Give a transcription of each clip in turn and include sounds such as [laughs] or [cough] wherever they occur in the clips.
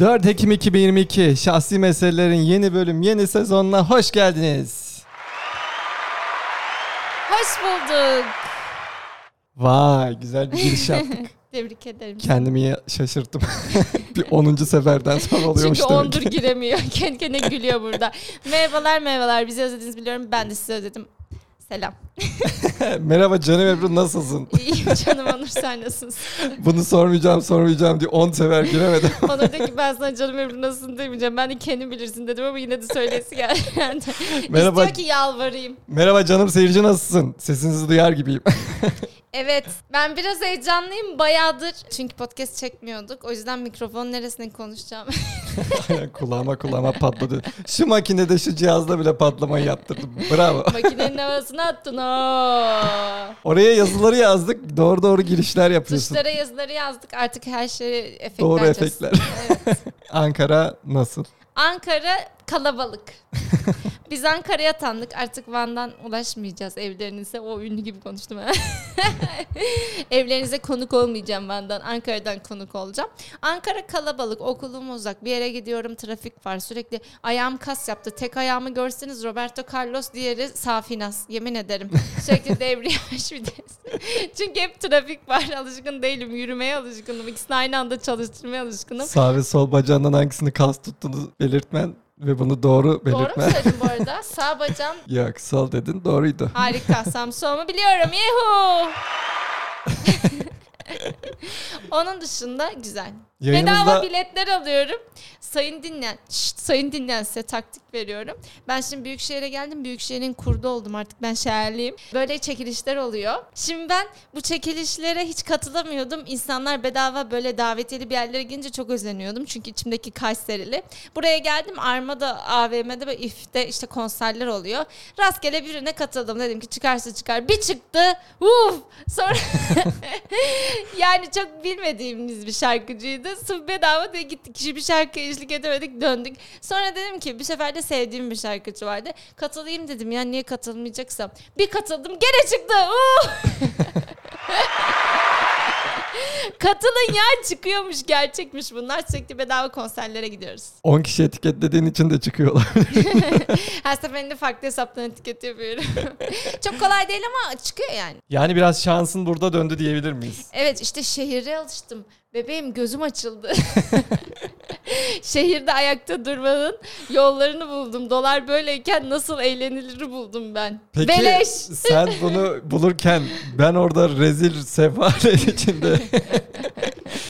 4 Ekim 2022 Şahsi Meselelerin yeni bölüm yeni sezonuna hoş geldiniz. Hoş bulduk. Vay güzel bir giriş yaptık. [laughs] Tebrik ederim. Kendimi ya- şaşırttım. [laughs] bir 10. seferden sonra oluyormuş Çünkü demek ondur ki. giremiyor. [laughs] Kendi kendine gülüyor burada. Merhabalar merhabalar. Bizi özlediniz biliyorum. Ben de sizi özledim. Selam. [laughs] Merhaba canım Ebru nasılsın? [laughs] İyiyim canım Onur sen nasılsın? Bunu sormayacağım sormayacağım diye 10 sefer [laughs] giremedim. Onur dedi ki ben sana canım Ebru nasılsın demeyeceğim. Ben de kendim bilirsin dedim ama yine de söylesi [laughs] geldi. Merhaba. İstiyor ki yalvarayım. Merhaba canım seyirci nasılsın? Sesinizi duyar gibiyim. [laughs] Evet ben biraz heyecanlıyım bayağıdır. Çünkü podcast çekmiyorduk. O yüzden mikrofon neresine konuşacağım. [laughs] Aynen, kulağıma kulağıma patladı. Şu makinede şu cihazda bile patlamayı yaptırdım. Bravo. Makinenin havasını attın. Oo. Oraya yazıları yazdık. Doğru doğru girişler yapıyorsun. Tuşlara yazıları yazdık. Artık her şeyi efektler. Doğru çözsün. efektler. Evet. [laughs] Ankara nasıl? Ankara kalabalık. [laughs] Biz Ankara'ya atandık. Artık Van'dan ulaşmayacağız evlerinize. O ünlü gibi konuştum. ha. [laughs] evlerinize konuk olmayacağım Van'dan. Ankara'dan konuk olacağım. Ankara kalabalık. Okulum uzak. Bir yere gidiyorum. Trafik var. Sürekli ayağım kas yaptı. Tek ayağımı görseniz Roberto Carlos diğeri Safinas. Yemin ederim. Sürekli devriyaj bir de. [laughs] Çünkü hep trafik var. Alışkın değilim. Yürümeye alışkınım. İkisini aynı anda çalıştırmaya alışkınım. Sağ ve sol bacağından hangisini kas tuttuğunu belirtmen ve bunu doğru Doğru belirtmen. mu söyledim bu arada? Sağ bacağım Yok sol dedin doğruydu. harika. Samsun'u biliyorum. Yuhu! Onun dışında güzel. Bedava Yayınımızda biletler alıyorum. Sayın dinleyen, şşt, sayın dinleyen size taktik veriyorum. Ben şimdi Büyükşehir'e geldim. Büyükşehir'in kurdu oldum artık. Ben şehirliyim. Böyle çekilişler oluyor. Şimdi ben bu çekilişlere hiç katılamıyordum. İnsanlar bedava böyle davetiyeli bir yerlere gelince çok özeniyordum. Çünkü içimdeki Kayserili. Buraya geldim Armada AVM'de ve İF'te işte konserler oluyor. Rastgele birine katıldım. Dedim ki çıkarsa çıkar. Bir çıktı. Uf! Sonra [laughs] yani çok bilmediğimiz bir şarkıcıydı. Sırf bedava diye gittik. Kişi bir şarkı eşlik edemedik döndük. Sonra dedim ki bir sefer de sevdiğim bir şarkıcı vardı. Katılayım dedim ya niye katılmayacaksam. Bir katıldım gene çıktı. Uuu! [laughs] Katılın ya çıkıyormuş gerçekmiş bunlar. Sürekli bedava konserlere gidiyoruz. 10 kişi etiketlediğin için de çıkıyorlar. [laughs] Her seferinde farklı hesaptan etiket yapıyorum. [laughs] çok kolay değil ama çıkıyor yani. yani biraz şansın burada döndü diyebilir miyiz? Evet işte şehire alıştım. Bebeğim gözüm açıldı. Şehirde ayakta durmanın yollarını buldum. Dolar böyleyken nasıl eğlenilir buldum ben. Peki Beleş. sen bunu bulurken ben orada rezil [laughs] sefalet içinde.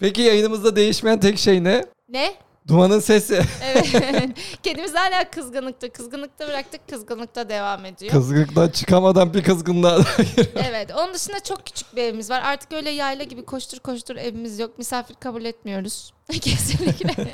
Peki yayınımızda değişmeyen tek şey ne? Ne? Dumanın sesi. Evet. [laughs] Kendimiz hala kızgınlıkta. Kızgınlıkta bıraktık. Kızgınlıkta devam ediyor. Kızgınlıktan çıkamadan bir kızgınlığa. Evet. Onun dışında çok küçük bir evimiz var. Artık öyle yayla gibi koştur koştur evimiz yok. Misafir kabul etmiyoruz. [laughs] Kesinlikle. [laughs]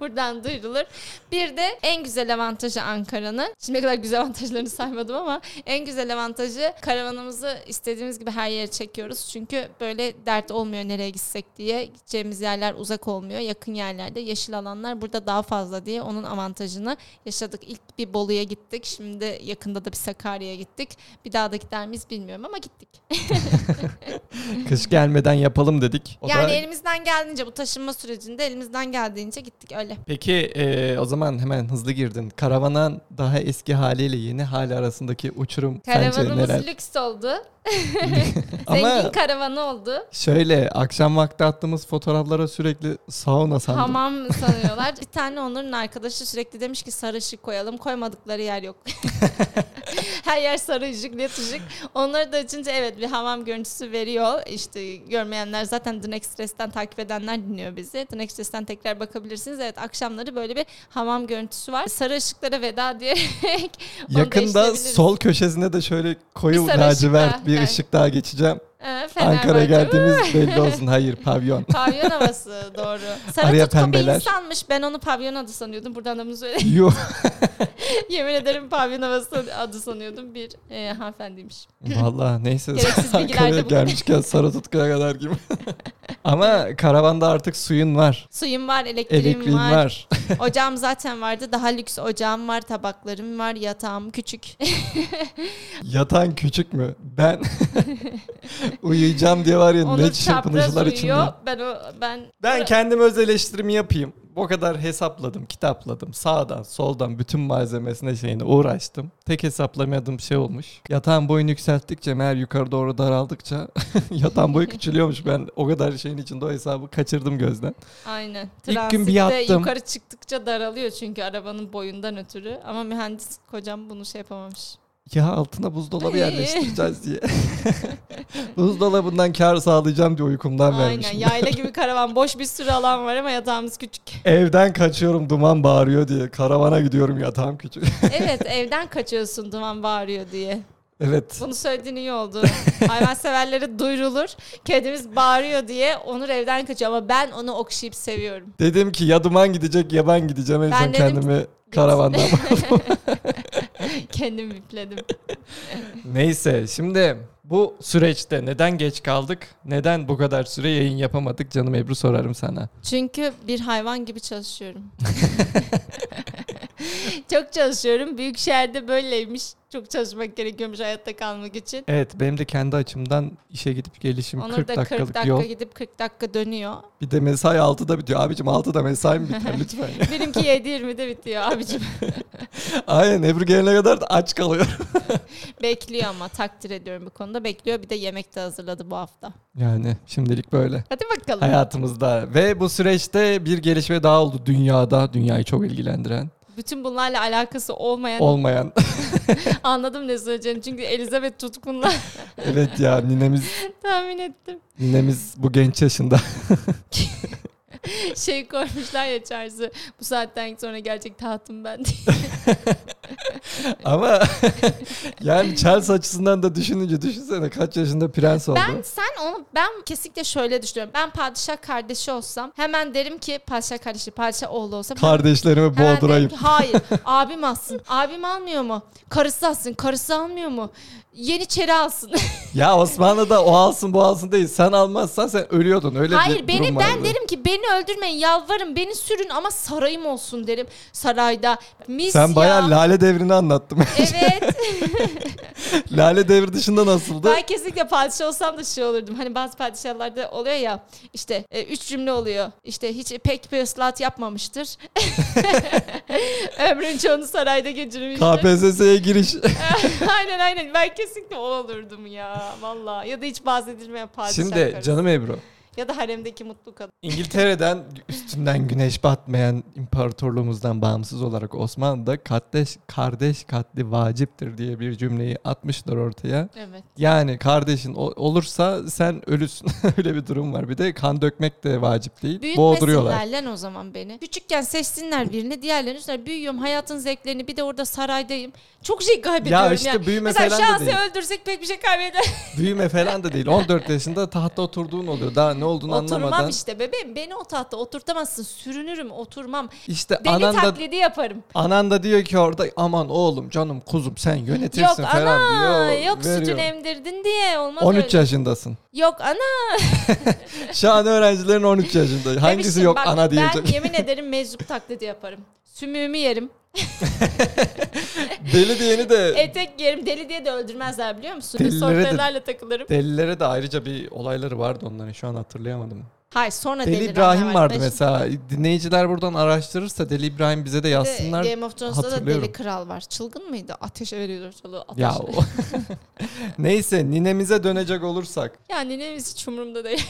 Buradan duyurulur. Bir de en güzel avantajı Ankara'nın. Şimdiye kadar güzel avantajlarını saymadım ama en güzel avantajı karavanımızı istediğimiz gibi her yere çekiyoruz. Çünkü böyle dert olmuyor nereye gitsek diye. Gideceğimiz yerler uzak olmuyor. Yakın yerlerde yeşil alanlar burada daha fazla diye onun avantajını yaşadık. İlk bir Bolu'ya gittik. Şimdi yakında da bir Sakarya'ya gittik. Bir daha da gider miyiz bilmiyorum ama gittik. Kış gelmeden yapalım dedik. O yani da- elimizden geldiğince bu taşınma sürecinde elimizden geldiğince gittik öyle. Peki eee, o zaman hemen hızlı girdin. Karavanan daha eski haliyle yeni hali arasındaki uçurum sence Karavanımız neler? lüks oldu. Ama Zengin karavanı oldu. şöyle akşam vakti attığımız fotoğraflara sürekli sauna sandım. Hamam sanıyorlar. bir tane onların arkadaşı sürekli demiş ki sarı ışık koyalım. Koymadıkları [laughs] yer yok. Her yer sarı ışık, net ışık. Onları da açınca evet bir hamam görüntüsü veriyor. İşte görmeyenler zaten Dın Express'ten takip edenler dinliyor bizi. Dın Express'ten tekrar bakabilirsiniz. Evet akşamları böyle bir hamam görüntüsü var. Sarı ışıklara veda diyerek onu da Yakında işleyebiliriz. sol köşesine de şöyle koyu Bir sarı lacivert ışık daha, bir evet. ışık daha geçeceğim. Ee, Ankara'ya Fenerbahçe. geldiğimiz belli olsun. Hayır [laughs] pavyon. Pavyon havası doğru. Sarı Araya tutku pembeler. bir insanmış. Ben onu pavyon adı sanıyordum. Buradan da bunu söyle. Yuh. Yemin ederim pavyon havası adı sanıyordum. Bir e, hanımefendiymiş. Valla neyse Gereksiz bilgiler [laughs] de Ankara'ya bu. gelmişken sarı tutkuya kadar [laughs] gibi. Ama karavanda artık suyun var. Suyum var, elektriğim Elektriğin var. var. Ocağım zaten vardı. Daha lüks ocağım var, tabaklarım var, yatağım küçük. [laughs] Yatan küçük mü? Ben [laughs] Uyuyacağım diye var ya Onur ne çapraz çırpınışlar içinde. uyuyor. Ben o ben Ben kendim öz eleştirimi yapayım. O kadar hesapladım, kitapladım. Sağdan, soldan bütün malzemesine şeyine uğraştım. Tek hesaplamadığım şey olmuş. Yatağın boyunu yükselttikçe meğer yukarı doğru daraldıkça [laughs] yatağın boyu küçülüyormuş. Ben o kadar şeyin içinde o hesabı kaçırdım gözden. Aynen. İlk Transitte gün bir yattım. yukarı çıktıkça daralıyor çünkü arabanın boyundan ötürü. Ama mühendis kocam bunu şey yapamamış. Ya altına [laughs] buzdolabı yerleştireceğiz diye. [laughs] Buzdolabından kar sağlayacağım diye uykumdan Aynen. vermişim. Yayla [laughs] gibi karavan. Boş bir sürü alan var ama yatağımız küçük. Evden kaçıyorum duman bağırıyor diye. Karavana gidiyorum yatağım küçük. [laughs] evet evden kaçıyorsun duman bağırıyor diye. evet. Bunu söylediğin [laughs] iyi oldu. Hayvanseverlere duyurulur. Kedimiz bağırıyor diye Onur evden kaçıyor ama ben onu okşayıp seviyorum. [laughs] Dedim ki ya duman gidecek ya ben gideceğim en Ben son dedim ki- kendimi [laughs] karavandan. Kendim yükledim. Neyse şimdi bu süreçte neden geç kaldık? Neden bu kadar süre yayın yapamadık? Canım Ebru sorarım sana. Çünkü bir hayvan [laughs] gibi çalışıyorum. Çok çalışıyorum. Büyük şehirde böyleymiş. Çok çalışmak gerekiyormuş hayatta kalmak için. Evet benim de kendi açımdan işe gidip gelişim Onur 40 da 40 dakikalık dakika yol. gidip 40 dakika dönüyor. Bir de mesai 6'da bitiyor. Abicim 6'da mesai mi [laughs] biter lütfen? ya? Benimki 7.20'de bitiyor [laughs] abicim. Aynen Ebru gelene kadar da aç kalıyor. Bekliyor ama takdir ediyorum bu konuda. Bekliyor bir de yemek de hazırladı bu hafta. Yani şimdilik böyle. Hadi bakalım. Hayatımızda ve bu süreçte bir gelişme daha oldu dünyada. Dünyayı çok ilgilendiren, Bütün bunlarla alakası olmayan olmayan. [laughs] anladım ne söyleyeceğini. Çünkü Elizabeth tutkunla evet ya ninemiz [laughs] tahmin ettim. ninemiz bu genç yaşında [laughs] Şey koymuşlar ya Charles'ı bu saatten sonra gerçek tahtım ben diye. Ama [laughs] yani Chelsea açısından da düşününce düşünsene kaç yaşında prens oldu. Ben sen onu ben kesinlikle şöyle düşünüyorum. Ben padişah kardeşi olsam hemen derim ki padişah kardeşi padişah oğlu olsam Kardeşlerimi hemen derim boğdurayım. ki, Hayır abim alsın. [laughs] Abim almıyor mu? Karısı alsın. Karısı almıyor mu? Yeniçeri alsın. ya Osmanlı'da o alsın bu alsın değil. Sen almazsan sen ölüyordun. Öyle [laughs] Hayır bir beni durum ben vardı. derim ki beni öldürmeyin yalvarın beni sürün ama sarayım olsun derim. Sarayda mis Sen ya. bayağı lale devrini anlattım. Evet. [laughs] lale devri dışında nasıldı? Ben kesinlikle padişah olsam da şey olurdum. Hani bazı padişahlarda oluyor ya işte e, üç cümle oluyor. İşte hiç pek bir [laughs] ıslahat yapmamıştır. Ömrün çoğunu sarayda geçirmiştir. KPSS'ye giriş. [laughs] aynen aynen. Ben kesinlikle o olurdum ya. Valla. Ya da hiç bahsedilmeyen padişah Şimdi karısı. canım Ebru. Ya da haremdeki mutlu kadın. İngiltere'den üstünden güneş batmayan imparatorluğumuzdan bağımsız olarak Osmanlı'da kardeş, kardeş katli vaciptir diye bir cümleyi atmışlar ortaya. Evet. Yani kardeşin o- olursa sen ölüsün. [laughs] Öyle bir durum var. Bir de kan dökmek de vacip değil. Boğduruyorlar. [laughs] Büyütmesinler lan o zaman beni. Küçükken seçsinler birini diğerlerini üstüne büyüyorum hayatın zevklerini bir de orada saraydayım. Çok şey kaybediyorum Ya işte yani. büyüme Mesela falan da şahsi değil. öldürsek pek bir şey kaybeder. Büyüme falan da değil. 14 yaşında tahta oturduğun oluyor. Daha ne olduğunu Oturmam anlamadan. işte bebeğim. Beni o tahta oturtamazsın. Sürünürüm, oturmam. İşte Deli anan da, taklidi yaparım. anan da diyor ki orada aman oğlum canım kuzum sen Yok yönetirsin falan ana, diyor. yok veriyor. sütünü emdirdin diye olmaz 13 öyle. yaşındasın. Yok ana. Şu an öğrencilerin 13 yaşında. Hangisi demiştim, yok bak, ana diyecek. Ben [laughs] yemin ederim meczup taklidi yaparım. Sümüğümü yerim, [laughs] Deli diyeni de etek yerim, deli diye de öldürmezler biliyor musun? Delilere de- Sortelerle takılırım. delilere de ayrıca bir olayları vardı onların. Şu an hatırlayamadım. Hayır sonra Deli delirim İbrahim hemen. vardı Ben mesela. Dinleyiciler buradan araştırırsa Deli İbrahim bize de şimdi yazsınlar. Şey, Game of Thrones'ta da hatırlıyorum. deli kral var. Çılgın mıydı? Ateşe veriyorlar çalı. Ateşe. Ya o. [laughs] Neyse ninemize dönecek olursak. Yani ne hiç umurumda değil.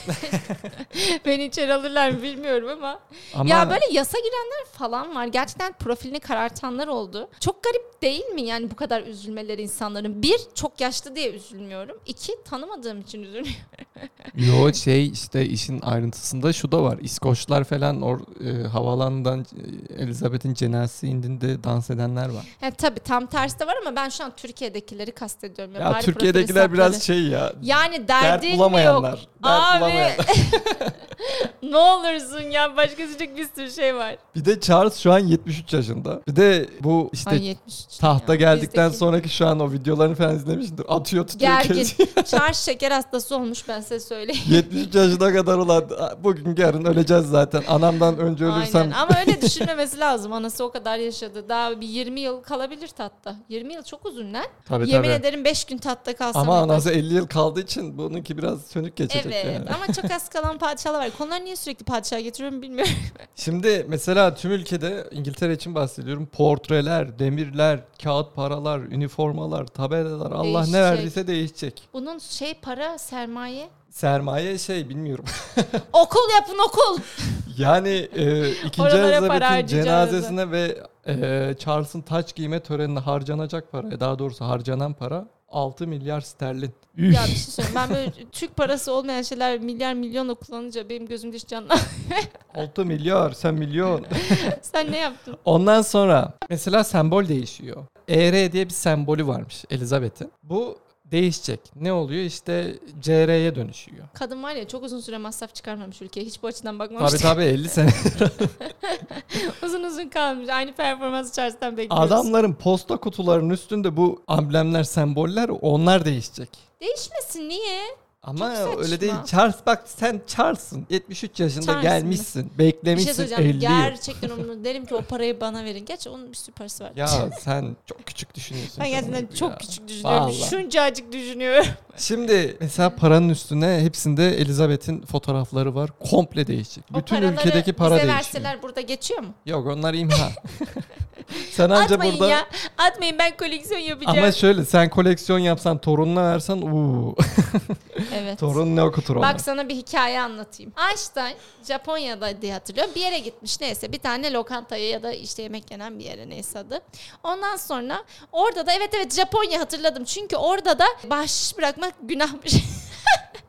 [laughs] Beni içeri alırlar mı bilmiyorum ama. Ama Ya böyle yasa girenler falan var. Gerçekten profilini karartanlar oldu. Çok garip değil mi yani bu kadar üzülmeleri insanların? Bir, çok yaşlı diye üzülmüyorum. İki, tanımadığım için üzülüyorum. yo şey işte işin ayrıntısında şu da var. İskoçlar falan or, e, havalandan e, Elizabeth'in cenazesi indiğinde dans edenler var. [laughs] Yani tabii tam tersi de var ama ben şu an Türkiye'dekileri kastediyorum. Ya bari profil Türkiye'dekiler biraz hesapları. şey ya. Yani Dert derdin mi [laughs] yok? bulamayanlar. Dert Abi. bulamayan. [laughs] ne olursun ya başka söyleyecek bir sürü şey var. Bir de Charles şu an 73 yaşında. Bir de bu işte Ay 73. tahta ya. geldikten Bizdeki- sonraki şu an o videolarını falan izlemiştim. Atıyor tutuyor [laughs] Gergin. kesiyor. Çarş şeker hastası olmuş ben size söyleyeyim. 73 yaşına kadar olan bugün yarın öleceğiz zaten. Anamdan önce ölürsem Aynen ama [laughs] öyle düşünmemesi lazım. Anası o kadar yaşadı. Daha bir 20 yıl kalabilir tatta. 20 yıl çok uzun lan. tabii Yemin tabii. ederim 5 gün tatta kalsam. Ama yeter. anası 50 yıl kaldığı için bununki biraz sönük geçecek Evet yani. ama çok [laughs] az kalan padişahlar var. Konuları niye sürekli padişah getiriyorum bilmiyorum. [laughs] Şimdi mesela tüm ülkede İngiltere için bahsediyorum. Portreler, demirler, kağıt paralar, üniformalar, tabelalar Allah Değişecek. ne verdiyse değişecek. Bunun şey para sermaye. Sermaye şey bilmiyorum. Okul yapın [laughs] okul. Yani e, ikinci Oralara para Elizabeth'in harcayacağız. cenazesine ve e, Charles'ın taç giyme törenine harcanacak para, daha doğrusu harcanan para 6 milyar sterlin. Üf. ya bir şey söyleyeyim. Ben böyle Türk parası olmayan şeyler milyar milyonla kullanınca benim gözümde hiç canlı. [laughs] 6 milyar, sen milyon. [laughs] Sen ne yaptın? Ondan sonra mesela sembol değişiyor. ER diye bir sembolü varmış Elizabeth'in. Bu değişecek. Ne oluyor? İşte CR'ye dönüşüyor. Kadın var ya çok uzun süre masraf çıkarmamış ülkeye. Hiç bu açıdan Tabii bakmamıştı. tabii 50 sene. [laughs] [laughs] uzun uzun kalmış. Aynı performansı Charles'tan bekliyoruz. Adamların posta kutularının üstünde bu amblemler, semboller onlar değişecek. Değişmesin niye? Ama Çok saçma. öyle değil. Charles bak sen Charles'ın 73 yaşında Charles mı? gelmişsin. Bir şey Beklemişsin söyleyeceğim. 50 yıl. Gerçekten onu derim ki o parayı bana verin. Gerçi onun bir sürü parası var. [laughs] Ya sen çok küçük düşünüyorsun. ben şu gerçekten anda çok ya. küçük düşünüyorum. Vallahi. Şuncacık düşünüyorum. Şimdi mesela paranın üstüne hepsinde Elizabeth'in fotoğrafları var. Komple değişik. O Bütün paraları ülkedeki para bize değişiyor. verseler burada geçiyor mu? Yok onlar [laughs] imha. sen anca Atmayın burada... ya. Atmayın ben koleksiyon yapacağım. Ama şöyle sen koleksiyon yapsan torununa versen uuu. [laughs] evet. Torun ne okutur ona? Bak sana bir hikaye anlatayım. Einstein Japonya'da diye hatırlıyorum. Bir yere gitmiş neyse bir tane lokantaya ya da işte yemek yenen bir yere neyse adı. Ondan sonra orada da evet evet Japonya hatırladım. Çünkü orada da bahşiş bırakmak günahmış.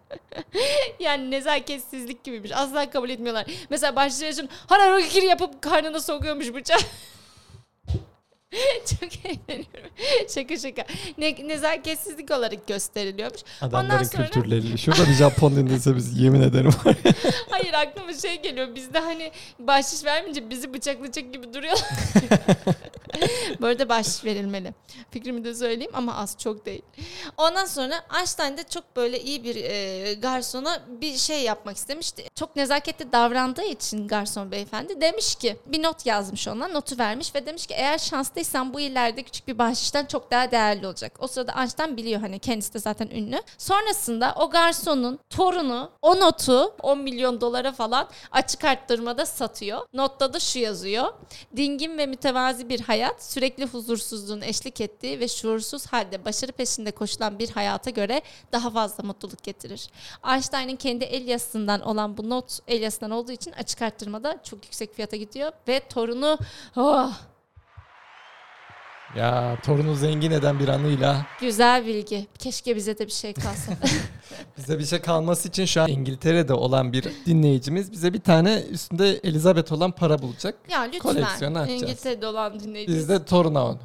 [laughs] yani nezaketsizlik gibiymiş. Asla kabul etmiyorlar. Mesela bahşiş için hararokikiri yapıp karnına sokuyormuş bıçağı. [laughs] Çok eğleniyorum. Şaka şaka. Ne, nezaketsizlik olarak gösteriliyormuş. Ondan Adamların sonra- kültürleri. Şurada bir Japon [laughs] dinlese biz yemin ederim. [laughs] Hayır aklıma şey geliyor. Bizde hani bahşiş vermeyince bizi bıçaklayacak gibi duruyorlar. Bu arada bahşiş verilmeli. Fikrimi de söyleyeyim ama az çok değil. Ondan sonra Einstein de çok böyle iyi bir e, garsona bir şey yapmak istemişti. Çok nezaketli davrandığı için garson beyefendi demiş ki bir not yazmış ona notu vermiş ve demiş ki eğer şanslıysan bu ileride küçük bir bahşişten çok daha değerli olacak. O sırada Einstein biliyor hani kendisi de zaten ünlü. Sonrasında o garsonun torunu o notu 10 milyon dolara falan açık arttırmada satıyor. Notta da şu yazıyor. Dingin ve mütevazi bir hayat, sürekli huzursuzluğun eşlik ettiği ve şuursuz halde başarı peşinde koşulan bir hayata göre daha fazla mutluluk getirir. Einstein'ın kendi el yazısından olan bu not el yazısından olduğu için açık arttırmada çok yüksek fiyata gidiyor ve torunu oh, ya torunu zengin eden bir anıyla güzel bilgi. Keşke bize de bir şey [laughs] kalsa. Bize bir şey kalması için şu an İngiltere'de olan bir dinleyicimiz bize bir tane üstünde Elizabeth olan para bulacak. ya Koleksiyonu lütfen açacağız. İngiltere'de olan dinleyeceğiz. Biz de toruna onu.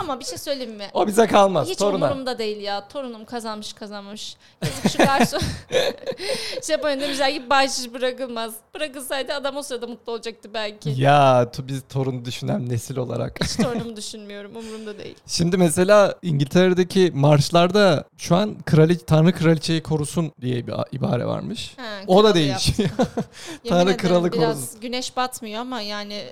Ama bir şey söyleyeyim mi? O bize kalmaz Hiç toruna. umurumda değil ya. Torunum kazanmış kazanmış. Yazık [laughs] şu garson. Şey Japonya'da güzel gibi bahşiş bırakılmaz. Bırakılsaydı adam o sırada mutlu olacaktı belki. Ya tu- biz torunu düşünen nesil olarak. [laughs] Hiç torunumu düşünmüyorum. Umurumda değil. Şimdi mesela İngiltere'deki marşlarda şu an krali, Tanrı kraliçeyi korusun diye bir a- ibare varmış. Ha, O da kralı yap. değişiyor. Yemin Tanrı ederim kralı biraz korusun. güneş batmıyor ama yani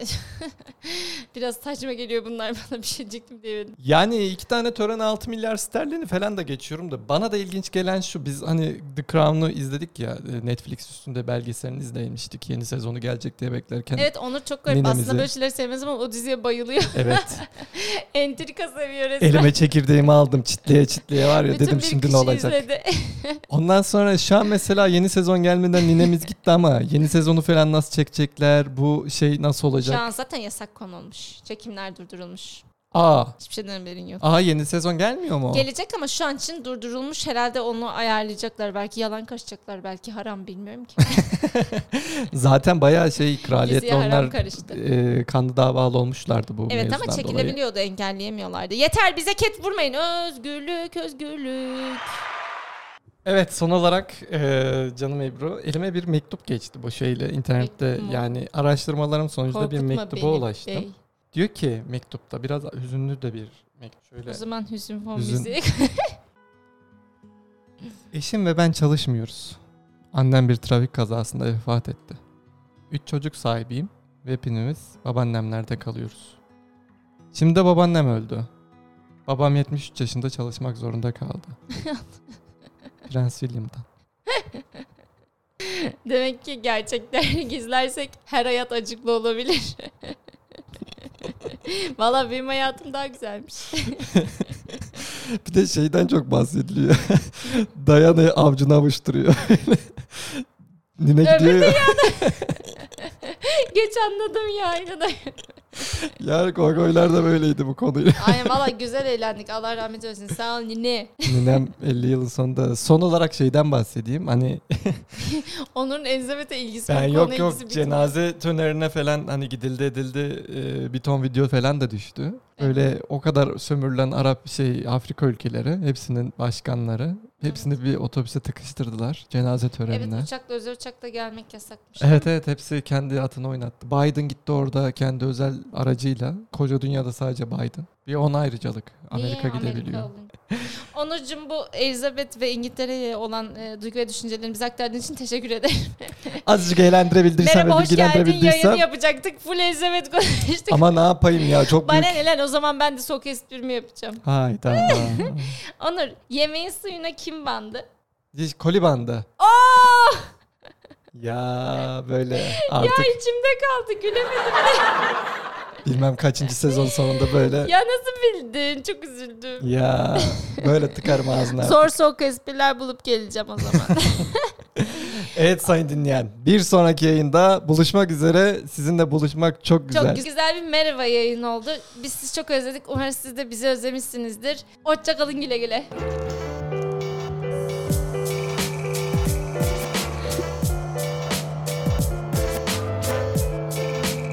[laughs] biraz saçma geliyor bunlar bana bir şey diyecektim diyemedim. yani iki tane tören 6 milyar sterlini falan da geçiyorum da bana da ilginç gelen şu biz hani The Crown'u izledik ya e, Netflix üstünde belgeselini izlemiştik yeni sezonu gelecek diye beklerken. Evet Onur çok garip. Ninemizi. Aslında böyle şeyleri sevmez ama o diziye bayılıyor. [laughs] evet. Entrika seviyor resmen. Elime çekirdeğimi aldım çitleye çitleye var ya Bütün dedim bir şimdi ne kişi olacak. izledi. Ondan sonra şu an mesela yeni sezon gelmeden ninemiz gitti ama yeni sezonu falan nasıl çekecekler bu şey nasıl Şu olacak? an zaten yasak konulmuş. Çekimler durdurulmuş. Aa, Hiçbir şeyden haberin yok. aa yeni sezon gelmiyor mu? Gelecek ama şu an için durdurulmuş. Herhalde onu ayarlayacaklar. Belki yalan kaçacaklar. Belki haram bilmiyorum ki. Zaten bayağı şey kraliyetle Yüzüğe haram onlar karıştı. e, kanlı davalı olmuşlardı bu evet ama mevzudan dolayı. çekilebiliyordu. Engelleyemiyorlardı. Yeter bize ket vurmayın. Özgürlük, özgürlük. Evet son olarak e, canım Ebru elime bir mektup geçti bu şeyle internette Mektup mu? yani araştırmalarım sonucunda bir Korkutma mektuba beni, şey. ulaştım. bey. Diyor ki mektupta biraz hüzünlü de bir mektup şöyle. O zaman hüzün fon Hüzün. müziği. [laughs] Eşim ve ben çalışmıyoruz. Annem bir trafik kazasında vefat etti. Üç çocuk sahibiyim ve hepimiz babaannemlerde kalıyoruz. Şimdi de babaannem öldü. Babam 73 yaşında çalışmak zorunda [laughs] kaldı. Prens William'dan. Demek ki gerçekleri [laughs] gizlersek her hayat acıklı olabilir. [laughs] Valla benim hayatım daha güzelmiş. Bir de şeyden çok bahsediliyor. [laughs] Dayana'yı avcına avuşturuyor. [laughs] Nine Öbür gidiyor ya. [laughs] Geç anladım ya. arkadaş. Yani Gogoylar da böyleydi bu konuyla. Aynen valla güzel eğlendik. Allah rahmet eylesin. Sağ ol nine. [laughs] Ninem 50 yılın sonunda. Son olarak şeyden bahsedeyim. [laughs] Hani Onun enzimete ilgisi yani yok. yok konuyla yok ilgisi bitmiyor. cenaze tönerine falan hani gidildi edildi e, bir ton video falan da düştü. Öyle o kadar sömürülen Arap şey Afrika ülkeleri hepsinin başkanları hepsini bir otobüse tıkıştırdılar cenaze Evet törenine. uçakla özel uçakla gelmek yasakmış. Evet evet hepsi kendi atını oynattı. Biden gitti orada kendi özel aracıyla. Koca dünyada sadece Biden. Bir on ayrıcalık. Amerika Niye gidebiliyor. Amerika olun? Onurcuğum bu Elizabeth ve İngiltere'ye olan e, duygu ve düşüncelerimizi bize aktardığın için teşekkür ederim. Azıcık eğlendirebildiysem Merhaba ve hoş geldin yayını bilgilendirebildiysem. yapacaktık. Full Elizabeth konuştuk. Ama ne yapayım ya çok Bana büyük. ne lan o zaman ben de sok esprimi yapacağım. [laughs] Hayda. Onur yemeğin suyuna kim bandı? Hiç Kolibandı. Aa! Ya böyle Ya artık içimde kaldı gülemedim. bilmem kaçıncı sezon sonunda böyle ya nasıl bildin? Çok üzüldüm. ya böyle tıkarım ağzına. Sor sok espriler bulup geleceğim o zaman. Evet sayın dinleyen bir sonraki yayında buluşmak üzere sizinle buluşmak çok güzel. Çok güzel bir merhaba yayın oldu. Biz sizi çok özledik. Umarım siz de bizi özlemişsinizdir. Hoşçakalın güle güle.